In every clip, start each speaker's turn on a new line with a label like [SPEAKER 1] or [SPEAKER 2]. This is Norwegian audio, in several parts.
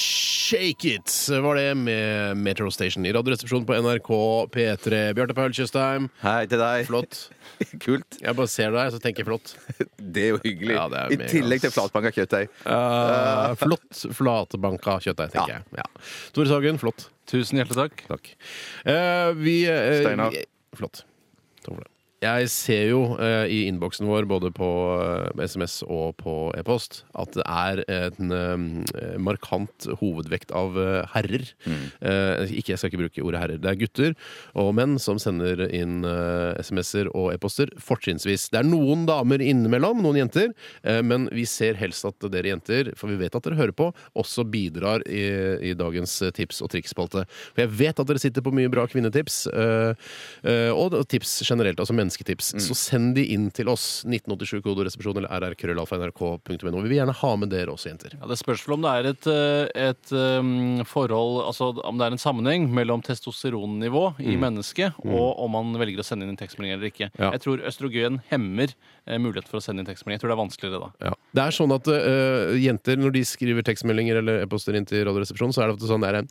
[SPEAKER 1] Shake It var det med Metro Station i Radioresepsjonen på NRK P3. Bjarte Paul Tjøstheim,
[SPEAKER 2] Hei til deg.
[SPEAKER 1] flott.
[SPEAKER 2] Kult.
[SPEAKER 1] Jeg bare ser deg, så tenker jeg flott.
[SPEAKER 2] Det er jo hyggelig.
[SPEAKER 1] Ja, det er
[SPEAKER 2] I
[SPEAKER 1] mega,
[SPEAKER 2] tillegg til
[SPEAKER 1] ass.
[SPEAKER 2] flatbanka kjøttdeig.
[SPEAKER 1] Eh, flott flatbanka kjøttdeig, tenker
[SPEAKER 2] Ja.
[SPEAKER 1] jeg. Ja. Tore Sagen, flott.
[SPEAKER 3] Tusen hjertelig takk.
[SPEAKER 1] Takk. Eh, vi eh,
[SPEAKER 2] Steinar.
[SPEAKER 1] vi- Flott. Takk for det. Jeg ser jo eh, i innboksen vår, både på eh, SMS og på e-post, at det er en eh, markant hovedvekt av eh, herrer.
[SPEAKER 3] Mm.
[SPEAKER 1] Eh, ikke, Jeg skal ikke bruke ordet herrer. Det er gutter og menn som sender inn eh, SMS-er og e-poster, fortrinnsvis. Det er noen damer innimellom, noen jenter, eh, men vi ser helst at dere jenter, for vi vet at dere hører på, også bidrar i, i dagens eh, tips- og triksspalte. For jeg vet at dere sitter på mye bra kvinnetips, eh, eh, og tips generelt, altså mennesketips. Så send de inn til oss, 1987kodoresepsjon eller rrkrøllalfa.nrk.no. Vi vil gjerne ha med dere også, jenter.
[SPEAKER 3] Ja, det spørs vel om det er et, eh, et eh, forhold Altså om det er en sammenheng mellom testosteronnivå i mennesket og om man velger å sende inn en tekstmelding eller ikke.
[SPEAKER 1] Mm. Ja.
[SPEAKER 3] Jeg tror østrogen hemmer eh, mulighet for å sende inn tekstmelding. Jeg tror det er vanskeligere da.
[SPEAKER 1] Ja. Det er sånn at øh, jenter, når de skriver tekstmeldinger eller e-poster inn til Radioresepsjonen, så er det ofte sånn der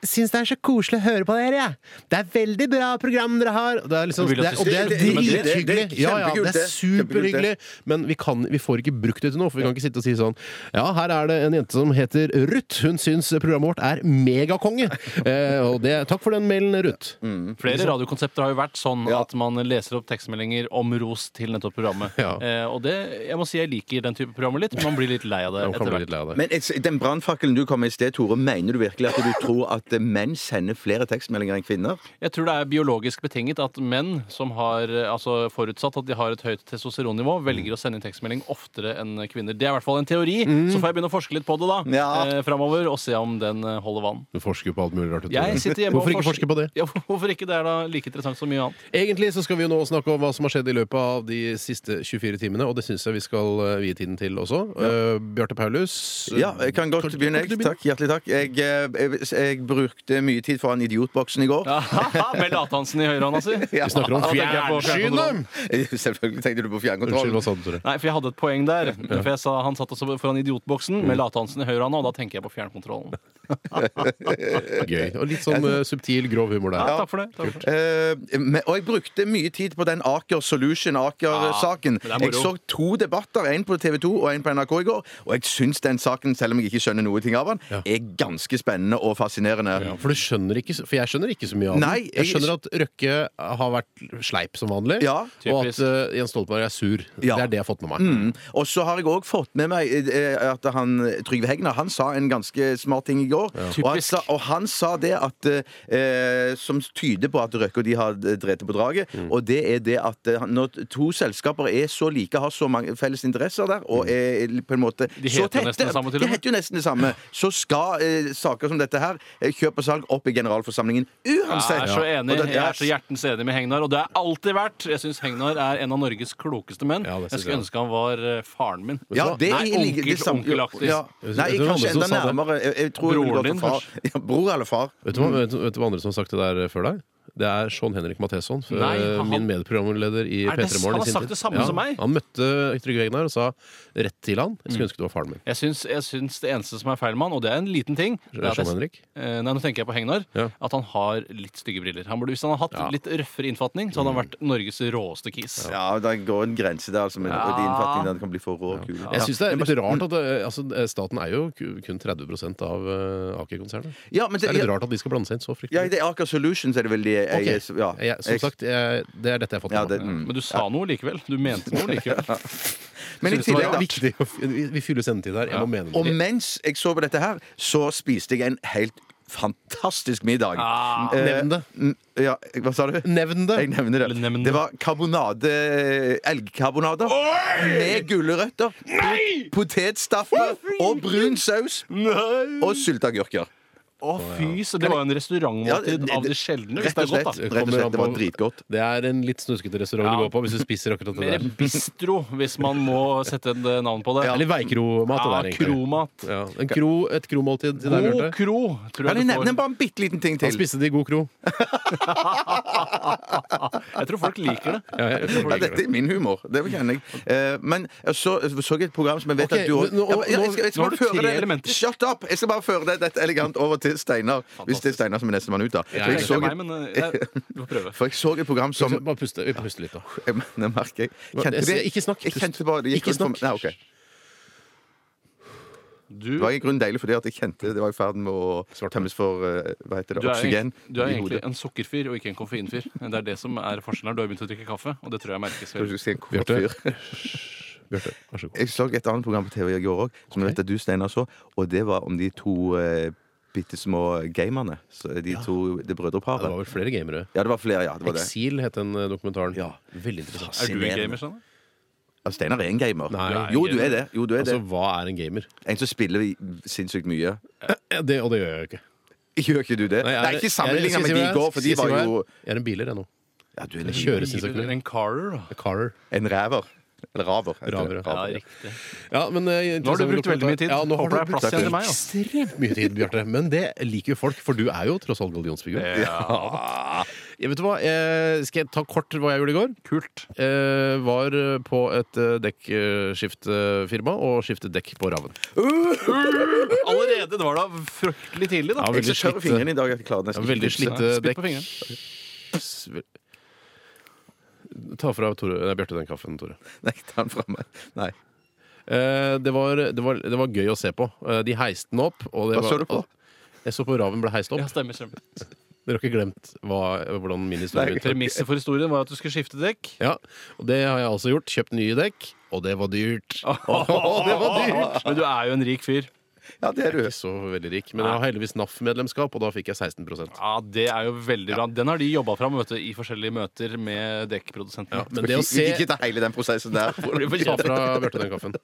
[SPEAKER 1] Syns det er så koselig å høre på dere, jeg. Det er veldig bra program dere har. Og det er, liksom,
[SPEAKER 3] Du vil
[SPEAKER 1] det
[SPEAKER 3] at
[SPEAKER 1] er, og
[SPEAKER 3] du
[SPEAKER 1] det er
[SPEAKER 2] skal- det- det- det- det- det-
[SPEAKER 1] drithyggelig.
[SPEAKER 2] det-
[SPEAKER 1] Ja, ja,
[SPEAKER 2] kjempekult,
[SPEAKER 1] det er
[SPEAKER 2] det.
[SPEAKER 1] superhyggelig. Men vi, kan, vi får ikke brukt det til noe, for vi kan ikke sitte og si sånn Ja, her er det en jente som heter Ruth. Hun syns programmet vårt er megakonge. Eh, og det, takk for den mailen, Ruth.
[SPEAKER 2] Mm.
[SPEAKER 3] Flere radiokonsepter har jo vært sånn
[SPEAKER 2] Ja.
[SPEAKER 3] at man leser opp tekstmeldinger om ros til nettopp programmet.
[SPEAKER 1] Ja.
[SPEAKER 3] Eh, og det, jeg må si jeg liker den type programmer litt, men man blir litt lei av det
[SPEAKER 1] Man
[SPEAKER 3] etter
[SPEAKER 1] kan bli
[SPEAKER 3] hvert.
[SPEAKER 1] litt lei av det.
[SPEAKER 2] Men jeg- den brannfakkelen du kom med i sted, Tore, mener du virkelig at du tror at eh, menn sender flere tekstmeldinger enn kvinner?
[SPEAKER 3] Jeg tror det er biologisk betinget at menn som har eh, altså forutsatt at de har et høyt testosteronnivå, velger å sende inn tekstmelding oftere enn kvinner. Det er i hvert fall en teori. Så får jeg begynne å forske litt på det da
[SPEAKER 2] Ja.
[SPEAKER 3] eh, framover og se om den eh, holder vann.
[SPEAKER 1] Du forsker jo på alt mulig rart. du, Tore.
[SPEAKER 3] Jeg sitter
[SPEAKER 1] Mm.
[SPEAKER 3] hjemme
[SPEAKER 1] Hvorfor
[SPEAKER 3] og
[SPEAKER 1] ikke forske på det?
[SPEAKER 3] Ja, hvorfor ikke? Det er da like interessant som mye annet.
[SPEAKER 1] Egentlig så skal vi jo nå snakke om hva som har skjedd i løpet av de siste 24 timene, og det syns jeg vi skal eh, vie tiden til også. Eh, Bjarte Paulus. eh,
[SPEAKER 2] Ja, jeg kan godt
[SPEAKER 1] kan-
[SPEAKER 2] begynne.
[SPEAKER 1] kan ikke du
[SPEAKER 2] jeg. Takk, Hjertelig takk. Jeg, eh, jeg, jeg brukte mye tid foran idiotboksen i går.
[SPEAKER 3] Med Lathansen i høyrehånda si.
[SPEAKER 2] Ja.
[SPEAKER 1] Vi snakker om
[SPEAKER 3] Ja, tenker jeg på
[SPEAKER 1] fjernsynet!
[SPEAKER 2] Selvfølgelig tenkte
[SPEAKER 1] Unnskyld,
[SPEAKER 2] du på
[SPEAKER 1] hva
[SPEAKER 2] fjernkontrollen.
[SPEAKER 1] sa du, Tore?
[SPEAKER 3] Nei, for jeg hadde et poeng der. For jeg sa Han satt også foran idiotboksen med Lathansen i høyrehånda, og da tenker jeg på fjernkontrollen.
[SPEAKER 1] Gøy. Og litt sånn eh, subtil, grov humor
[SPEAKER 3] Ja,
[SPEAKER 1] der.
[SPEAKER 3] takk for det. Takk for det.
[SPEAKER 2] Eh, men, og jeg brukte mye tid på den Aker Solution-Aker-saken.
[SPEAKER 3] Ja, men det er
[SPEAKER 2] jeg
[SPEAKER 3] moro.
[SPEAKER 2] så to debatter, en på TV 2 og en på NRK i går. Og jeg syns den saken, selv om jeg ikke skjønner noe ting av den, er ganske spennende og fascinerende.
[SPEAKER 1] Ja, for, du skjønner ikke, så- for jeg skjønner ikke så mye av det.
[SPEAKER 2] Nei,
[SPEAKER 1] jeg
[SPEAKER 2] jeg-
[SPEAKER 1] skjønner at Røkke har vært sleip som vanlig,
[SPEAKER 2] Ja.
[SPEAKER 1] og at
[SPEAKER 3] Typisk.
[SPEAKER 1] eh, Jens Stoltenberg er sur.
[SPEAKER 2] Ja.
[SPEAKER 1] Det er det jeg har fått med meg.
[SPEAKER 2] Mm. Og så har jeg òg fått med meg eh, at han, Trygve Hegnar han sa en ganske smart ting i går. Og, han
[SPEAKER 3] Typisk.
[SPEAKER 2] sa, og han sa det at eh, som tyder på at Røkke og de har eh, drept på draget. Og det er det at eh, når to selskaper er så like, har så mange felles interesser der, og er på en måte
[SPEAKER 3] De
[SPEAKER 2] så
[SPEAKER 3] heter jo nesten det samme, til og
[SPEAKER 2] de
[SPEAKER 3] med.
[SPEAKER 2] heter jo nesten det samme. Så skal eh, saker som dette her, eh, kjøp og salg, opp i generalforsamlingen uansett.
[SPEAKER 3] Jeg er så enig.
[SPEAKER 2] Og det-
[SPEAKER 3] Jeg er så hjertens enig med Hegnar. Og det er alltid vært. Jeg syns Hegnar er en av Norges klokeste menn.
[SPEAKER 1] Ja, det synes
[SPEAKER 3] Jeg skulle
[SPEAKER 1] jeg.
[SPEAKER 3] ønske han var eh, faren min.
[SPEAKER 2] Ja, det er
[SPEAKER 3] Nei,
[SPEAKER 2] i like- det
[SPEAKER 3] onkel,
[SPEAKER 2] samme-
[SPEAKER 3] onkelaktig.
[SPEAKER 2] Ja. Nei,
[SPEAKER 1] Vet du hvem andre
[SPEAKER 2] kanskje
[SPEAKER 1] som
[SPEAKER 2] enda
[SPEAKER 1] sa det?
[SPEAKER 2] nærmere. Jeg, jeg tror jeg ville gått
[SPEAKER 3] Broren din,
[SPEAKER 2] for far. Ja, bror eller far.
[SPEAKER 1] Vet du, hva,
[SPEAKER 3] Mm.
[SPEAKER 1] vet, vet du hva andre som har sagt det der før deg? Det er Sean Henrik Matheson, f-
[SPEAKER 3] Nei, han-
[SPEAKER 1] min medprogramleder i
[SPEAKER 3] Er det-
[SPEAKER 1] P3 Morgen.
[SPEAKER 3] han har
[SPEAKER 1] i sin
[SPEAKER 3] sagt
[SPEAKER 1] tid.
[SPEAKER 3] det samme som meg? Mm.
[SPEAKER 1] Han møtte Trygve Egnar og sa rett til han Jeg skulle ønske du var faren min.
[SPEAKER 3] Jeg syns, jeg syns det eneste som er feil med han, og det er en liten ting det er at jeg-
[SPEAKER 1] Sean Henrik?
[SPEAKER 3] Eh, Nei, nå tenker jeg på Hegnar.
[SPEAKER 1] Ja.
[SPEAKER 3] At han har litt stygge briller. Han burde, hvis han hadde hatt
[SPEAKER 1] Ja.
[SPEAKER 3] litt røffere innfatning, så hadde han vært Norges råeste kis.
[SPEAKER 2] Ja, det går en grense der altså, med
[SPEAKER 3] Ja.
[SPEAKER 2] din fatning der det kan bli for rå og kul.
[SPEAKER 1] Jeg synes det er litt rart
[SPEAKER 3] Mm.
[SPEAKER 1] at eh, altså, Staten eier jo ku- kun 30 av eh, Aker-konsernet.
[SPEAKER 2] Ja, men
[SPEAKER 1] Det
[SPEAKER 2] det,
[SPEAKER 1] er litt
[SPEAKER 2] ja,
[SPEAKER 1] rart at de skal blande seg inn så
[SPEAKER 2] ja,
[SPEAKER 1] fryktelig.
[SPEAKER 2] det er Aker Solutions er det vel de jeg,
[SPEAKER 1] Ok.
[SPEAKER 2] ja.
[SPEAKER 1] Jeg, som
[SPEAKER 2] Jeg-
[SPEAKER 1] sagt, jeg, det er dette jeg har fått
[SPEAKER 2] ja,
[SPEAKER 1] med
[SPEAKER 2] det,
[SPEAKER 1] meg.
[SPEAKER 2] mm.
[SPEAKER 3] Men du sa noe likevel. Du mente noe likevel.
[SPEAKER 2] Men i
[SPEAKER 1] Det var
[SPEAKER 2] tillegg, da,
[SPEAKER 1] viktig å f- Vi vi fyller sendetid her. Jeg må mene
[SPEAKER 2] og
[SPEAKER 1] noe.
[SPEAKER 2] mens jeg så på dette her, så spiste jeg en helt fantastisk middag.
[SPEAKER 3] Ah,
[SPEAKER 2] Eh,
[SPEAKER 1] nevn det.
[SPEAKER 2] mm, Ja, hva sa du?
[SPEAKER 1] Nevn det!
[SPEAKER 2] Jeg nevner det.
[SPEAKER 3] Eller nevn
[SPEAKER 2] Det
[SPEAKER 3] det.
[SPEAKER 2] var karbonade elgkarbonader med gulrøtter, pot- potetstaffer og brun saus og sylteagurker.
[SPEAKER 3] Å, fy så Det var jo en restaurantmåltid av det sjeldne. Hvis
[SPEAKER 2] Rett
[SPEAKER 3] det
[SPEAKER 2] og
[SPEAKER 3] er
[SPEAKER 2] slett.
[SPEAKER 3] godt, da.
[SPEAKER 2] Rett og slett, Det var dritgodt.
[SPEAKER 1] Det er en litt snuskete restaurant du
[SPEAKER 3] Ja.
[SPEAKER 1] går på hvis du spiser akkurat det
[SPEAKER 3] Mer
[SPEAKER 1] der.
[SPEAKER 3] bistro, hvis man må sette et eh, navn på det.
[SPEAKER 1] Ja. Eller veikromat. det
[SPEAKER 3] Ja,
[SPEAKER 1] der, egentlig.
[SPEAKER 3] kromat.
[SPEAKER 1] Ja, en kro, et kromåltid til deg,
[SPEAKER 3] God
[SPEAKER 1] Bjarte.
[SPEAKER 3] kro, tror
[SPEAKER 2] Kan
[SPEAKER 3] jeg
[SPEAKER 2] jeg
[SPEAKER 3] du
[SPEAKER 2] nevne
[SPEAKER 3] får.
[SPEAKER 2] bare en bitte liten ting
[SPEAKER 1] Han
[SPEAKER 2] til?
[SPEAKER 1] spiste det i god kro.
[SPEAKER 3] Jeg tror folk liker det.
[SPEAKER 1] Ja, jeg, jeg,
[SPEAKER 2] Ja, dette er min humor. Det kjenner jeg. Eh, Men jeg så eh, så jeg et program som jeg vet
[SPEAKER 1] Ok,
[SPEAKER 2] at du
[SPEAKER 1] men nå-
[SPEAKER 2] Ja, men jeg- jeg skal- jeg skal
[SPEAKER 3] nå har
[SPEAKER 2] bare
[SPEAKER 3] du
[SPEAKER 2] føre
[SPEAKER 3] tre
[SPEAKER 2] det-
[SPEAKER 3] elementer.
[SPEAKER 2] Shut up! Jeg skal bare føre det, dette elegant over til Steinar. Hvis det er Steinar som er nestemann ut, da. For
[SPEAKER 1] Ja,
[SPEAKER 2] jeg
[SPEAKER 1] det er
[SPEAKER 2] så
[SPEAKER 3] Ikke
[SPEAKER 2] et,
[SPEAKER 3] meg, men eh, jeg, du får prøve.
[SPEAKER 2] for jeg så et program som
[SPEAKER 1] bare puste, vi puster litt, da.
[SPEAKER 2] Jeg mener, Det merker jeg. Kjente
[SPEAKER 1] Jeg
[SPEAKER 2] det-
[SPEAKER 1] sier, ikke snakk,
[SPEAKER 2] Jeg
[SPEAKER 1] pust.
[SPEAKER 2] kjente bare, det gikk
[SPEAKER 1] Ikke
[SPEAKER 2] rundt for meg.
[SPEAKER 1] snakk.
[SPEAKER 2] Nei, ok.
[SPEAKER 3] Du,
[SPEAKER 2] Det var i grunnen deilig, fordi at jeg kjente det var i ferd med å tømmes for eh, hva heter det,
[SPEAKER 3] du er,
[SPEAKER 2] oksygen
[SPEAKER 3] egentlig- du er
[SPEAKER 2] i
[SPEAKER 3] egentlig
[SPEAKER 2] hodet.
[SPEAKER 3] en sukkerfyr og ikke en koffeinfyr. Det er det som er forskjellen her. Du har begynt å drikke kaffe, og det tror jeg merkes.
[SPEAKER 2] Jeg
[SPEAKER 3] veldig.
[SPEAKER 2] skulle si en kort
[SPEAKER 1] Bjarte,
[SPEAKER 2] fyr.
[SPEAKER 1] Bjarte, vær så god.
[SPEAKER 2] Jeg så et annet program på TV i går òg, som jeg vet at du, Steinar, så. Og det var om de to eh, bitte små gamerne. Så de to,
[SPEAKER 1] Ja,
[SPEAKER 2] det
[SPEAKER 1] det var
[SPEAKER 2] brødreparet.
[SPEAKER 1] vel flere gamere.
[SPEAKER 2] Ja, det var flere, ja. det var det.
[SPEAKER 1] Eksil het den eh, dokumentaren.
[SPEAKER 2] Ja.
[SPEAKER 1] Veldig interessant.
[SPEAKER 3] Er du en
[SPEAKER 2] Fascinerende.
[SPEAKER 3] gamer, skjønner du?
[SPEAKER 2] Ja, Steinar er en gamer.
[SPEAKER 1] Nei. Du er en
[SPEAKER 2] jo, du
[SPEAKER 3] gamer.
[SPEAKER 2] er det. Jo, du er
[SPEAKER 1] Altså,
[SPEAKER 2] det.
[SPEAKER 1] hva er en gamer?
[SPEAKER 2] En som spiller i- sinnssykt mye.
[SPEAKER 1] Ja, Det, og det gjør jeg jo ikke.
[SPEAKER 2] Gjør ikke du det?
[SPEAKER 1] Nei, jeg-
[SPEAKER 2] det er ikke
[SPEAKER 1] jeg- skal
[SPEAKER 2] sammenligna
[SPEAKER 1] jeg
[SPEAKER 2] med
[SPEAKER 1] si
[SPEAKER 2] de
[SPEAKER 1] hva
[SPEAKER 2] i
[SPEAKER 1] jeg-
[SPEAKER 2] går, for
[SPEAKER 1] skal
[SPEAKER 2] de
[SPEAKER 1] jeg si
[SPEAKER 2] var
[SPEAKER 1] hva jeg-
[SPEAKER 2] jo
[SPEAKER 1] Jeg er en biler, jeg nå.
[SPEAKER 2] Ja, du er
[SPEAKER 1] Jeg
[SPEAKER 2] en,
[SPEAKER 1] kjører sinnssykt
[SPEAKER 3] Eller
[SPEAKER 1] mye.
[SPEAKER 3] En carer, da.
[SPEAKER 1] A Carer.
[SPEAKER 2] en ræver. Eller raver. heter det.
[SPEAKER 1] Raver, ja.
[SPEAKER 3] Ja,
[SPEAKER 2] ja.
[SPEAKER 3] riktig.
[SPEAKER 1] Ja, men, eh,
[SPEAKER 3] Nå har du brukt veldig mye tid.
[SPEAKER 1] Ja, nå har
[SPEAKER 3] Håper det
[SPEAKER 1] du
[SPEAKER 3] er plass
[SPEAKER 1] brukt
[SPEAKER 3] igjen til meg. altså.
[SPEAKER 1] ekstremt mye tid, Bjarte. Men det liker jo folk, for du er jo tross alt gallionsfigur. Ja. Jeg vet du hva, eh, Skal jeg ta kort hva jeg gjorde i går?
[SPEAKER 3] Kult.
[SPEAKER 1] Eh, var eh, på et eh, dekkskiftefirma og skiftet dekk på Raven.
[SPEAKER 3] Allerede! Det var da fryktelig tidlig, da.
[SPEAKER 1] Ja,
[SPEAKER 2] Jeg er så tørr i fingrene i dag. Jeg klarer
[SPEAKER 1] Ja,
[SPEAKER 2] nesten
[SPEAKER 1] veldig
[SPEAKER 2] ikke å
[SPEAKER 1] slitte
[SPEAKER 3] Spytt
[SPEAKER 1] dekk.
[SPEAKER 3] på fingeren.
[SPEAKER 1] Ta fra Tore, nei, Bjarte den kaffen, Tore.
[SPEAKER 2] knipse. Nei, ta den fra meg. Nei.
[SPEAKER 1] Eh, det, var, det, var, det var gøy å se på. Eh, de heiste den opp. Og det
[SPEAKER 2] Hva
[SPEAKER 1] var,
[SPEAKER 2] så du på?
[SPEAKER 1] Jeg så på Raven ble heist opp.
[SPEAKER 3] Ja, stemmer, stemmer.
[SPEAKER 1] Dere har ikke glemt hva, hvordan min historie
[SPEAKER 2] Nei.
[SPEAKER 1] begynte?
[SPEAKER 3] Premisset for historien var at du skulle skifte dekk.
[SPEAKER 1] Ja, og det har jeg altså gjort. Kjøpt nye dekk. Og det var dyrt. det var dyrt!
[SPEAKER 3] Men du er jo en rik fyr.
[SPEAKER 2] Ja, det er du.
[SPEAKER 1] Ikke så veldig rik, men jeg har heldigvis NAF-medlemskap, og da fikk jeg 16
[SPEAKER 3] Ja, Det er jo veldig bra. Den har de jobba fram vet du, i forskjellige møter med dekkprodusentene.
[SPEAKER 1] Men det å
[SPEAKER 2] Vi
[SPEAKER 1] se
[SPEAKER 2] gikk ikke ta hele den prosessen der.
[SPEAKER 1] Ta fra Bjarte den kaffen.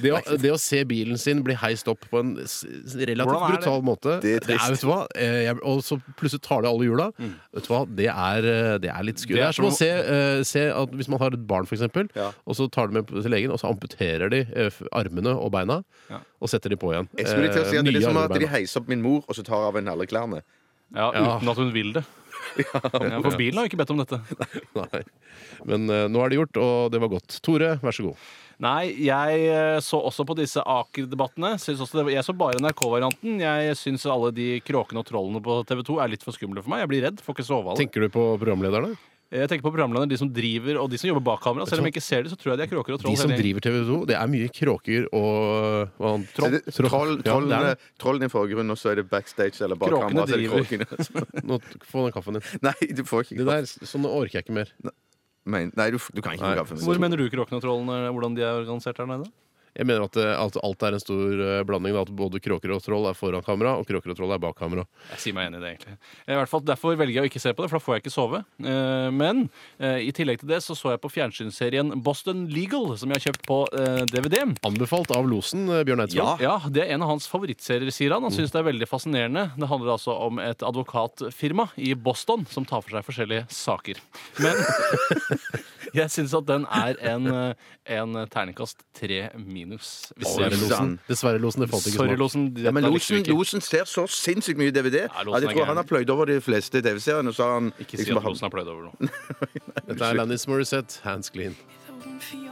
[SPEAKER 1] Det å, det å se bilen sin bli heist opp på en s- s- relativt
[SPEAKER 3] Hvordan er det?
[SPEAKER 1] brutal måte
[SPEAKER 2] Det er trist. Mm.
[SPEAKER 1] vet du hva? eh, jeg, Og så plutselig tar det alle hjula. Vet du hva? Det er, eh, det er litt skummelt. Det er som å se, eh, se at hvis man har et barn, for eksempel,
[SPEAKER 2] Ja.
[SPEAKER 1] og så tar det med til legen, og så amputerer de eh, f- armene og beina,
[SPEAKER 3] Ja.
[SPEAKER 1] og setter de på igjen.
[SPEAKER 2] Jeg skulle til å si
[SPEAKER 1] Eh,
[SPEAKER 2] at Det er
[SPEAKER 1] nye
[SPEAKER 2] som
[SPEAKER 1] armer og
[SPEAKER 2] at de
[SPEAKER 1] beina.
[SPEAKER 2] heiser opp min mor, og så tar av henne alle klærne.
[SPEAKER 3] Ja,
[SPEAKER 1] Ja.
[SPEAKER 3] Uten at hun vil det. Ja, for bilen har jo ikke bedt om dette.
[SPEAKER 1] Nei. Men eh, nå er det gjort, og det var godt. Tore, vær så god.
[SPEAKER 3] Nei, jeg eh, så også på disse Aker-debattene. Syns også det var- Jeg så bare NRK-varianten. Jeg syns alle de kråkene og trollene på TV 2 er litt for skumle for meg. Jeg blir redd. Får ikke sove av det.
[SPEAKER 1] Tenker du på programlederne?
[SPEAKER 3] Jeg tenker på programlederne, de som driver og de som jobber bak kamera. Selv om jeg ikke ser de, så tror jeg de er kråker og troll.
[SPEAKER 1] De som
[SPEAKER 3] hele gjengen.
[SPEAKER 1] driver TV 2? Det er mye kråker og hva annet?
[SPEAKER 2] Troll, troll,
[SPEAKER 1] Ja, det er det.
[SPEAKER 2] trollene- Trollen i forgrunnen, og så er det backstage eller bak
[SPEAKER 3] Kråkene
[SPEAKER 2] kamera. så er det
[SPEAKER 3] driver.
[SPEAKER 2] kråkene.
[SPEAKER 1] Nå, få den kaffen din.
[SPEAKER 2] Nei, du får ikke
[SPEAKER 1] Det der, sånn orker jeg ikke mer.
[SPEAKER 2] Men, Nei, du, du kan ikke sånn.
[SPEAKER 1] Nei.
[SPEAKER 2] noe kaffe.
[SPEAKER 3] Hvor mener du kråkene og trollene hvordan de er organisert her nede?
[SPEAKER 1] Jeg mener at, eh, at alt er en stor eh, blanding. da, At både kråker og troll er foran kamera, og kråker og troll er bak kamera.
[SPEAKER 3] Jeg sier meg enig i det, egentlig. Eh, I hvert fall Derfor velger jeg å ikke se på det, for da får jeg ikke sove. Eh, Men eh, i tillegg til det så så jeg på fjernsynsserien Boston Legal, som jeg har kjøpt på eh, DVD.
[SPEAKER 1] Anbefalt av losen, eh, Bjørn
[SPEAKER 2] Ah.
[SPEAKER 1] Eidsvåg.
[SPEAKER 3] Ja, Det er en av hans favorittserier, sier han. Han syns det er veldig fascinerende. Det handler altså om et advokatfirma i Boston som tar for seg forskjellige saker. Men jeg syns at den er en, eh, en terningkast tre minus. Hvis
[SPEAKER 1] Dessverre,
[SPEAKER 2] Oi,
[SPEAKER 1] losen.
[SPEAKER 2] sann.
[SPEAKER 1] Dessverre, losen. Det falt ikke
[SPEAKER 3] Sorry,
[SPEAKER 1] smak.
[SPEAKER 3] Losen.
[SPEAKER 2] Ja, men
[SPEAKER 3] dette likte vi
[SPEAKER 2] losen,
[SPEAKER 3] ikke.
[SPEAKER 2] losen ser så sinnssykt mye DVD
[SPEAKER 3] Ja, Losen
[SPEAKER 2] at jeg
[SPEAKER 3] er
[SPEAKER 2] tror
[SPEAKER 3] gæren.
[SPEAKER 2] han har pløyd over de fleste TV-seriene. og så har han
[SPEAKER 3] Ikke si
[SPEAKER 2] liksom
[SPEAKER 3] at
[SPEAKER 2] bare-
[SPEAKER 3] Losen har pløyd over noe.
[SPEAKER 1] Dette er Landis Morissette, hands clean.
[SPEAKER 4] If it weren't for your